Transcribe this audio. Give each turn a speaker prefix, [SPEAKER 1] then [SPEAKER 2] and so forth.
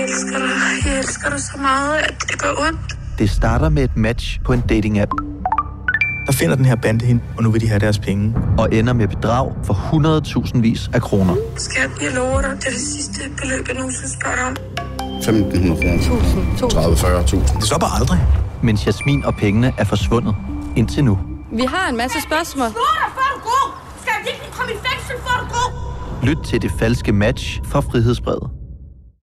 [SPEAKER 1] elsker dig. Jeg elsker dig så meget, at det gør ondt.
[SPEAKER 2] Det starter med et match på en dating-app
[SPEAKER 3] Der finder den her bande hende, og nu vil de have deres penge.
[SPEAKER 2] og ender med bedrag for 100.000 vis af kroner.
[SPEAKER 1] Skat, jeg lover dig. Det er det sidste beløb, jeg nogensinde spørger dig om.
[SPEAKER 4] 1.500 kroner. 30-40.000.
[SPEAKER 3] Det stopper aldrig.
[SPEAKER 2] Mens Jasmin og pengene er forsvundet indtil nu.
[SPEAKER 5] Vi har en masse spørgsmål.
[SPEAKER 2] Lyt til det falske match fra Frihedsbrevet.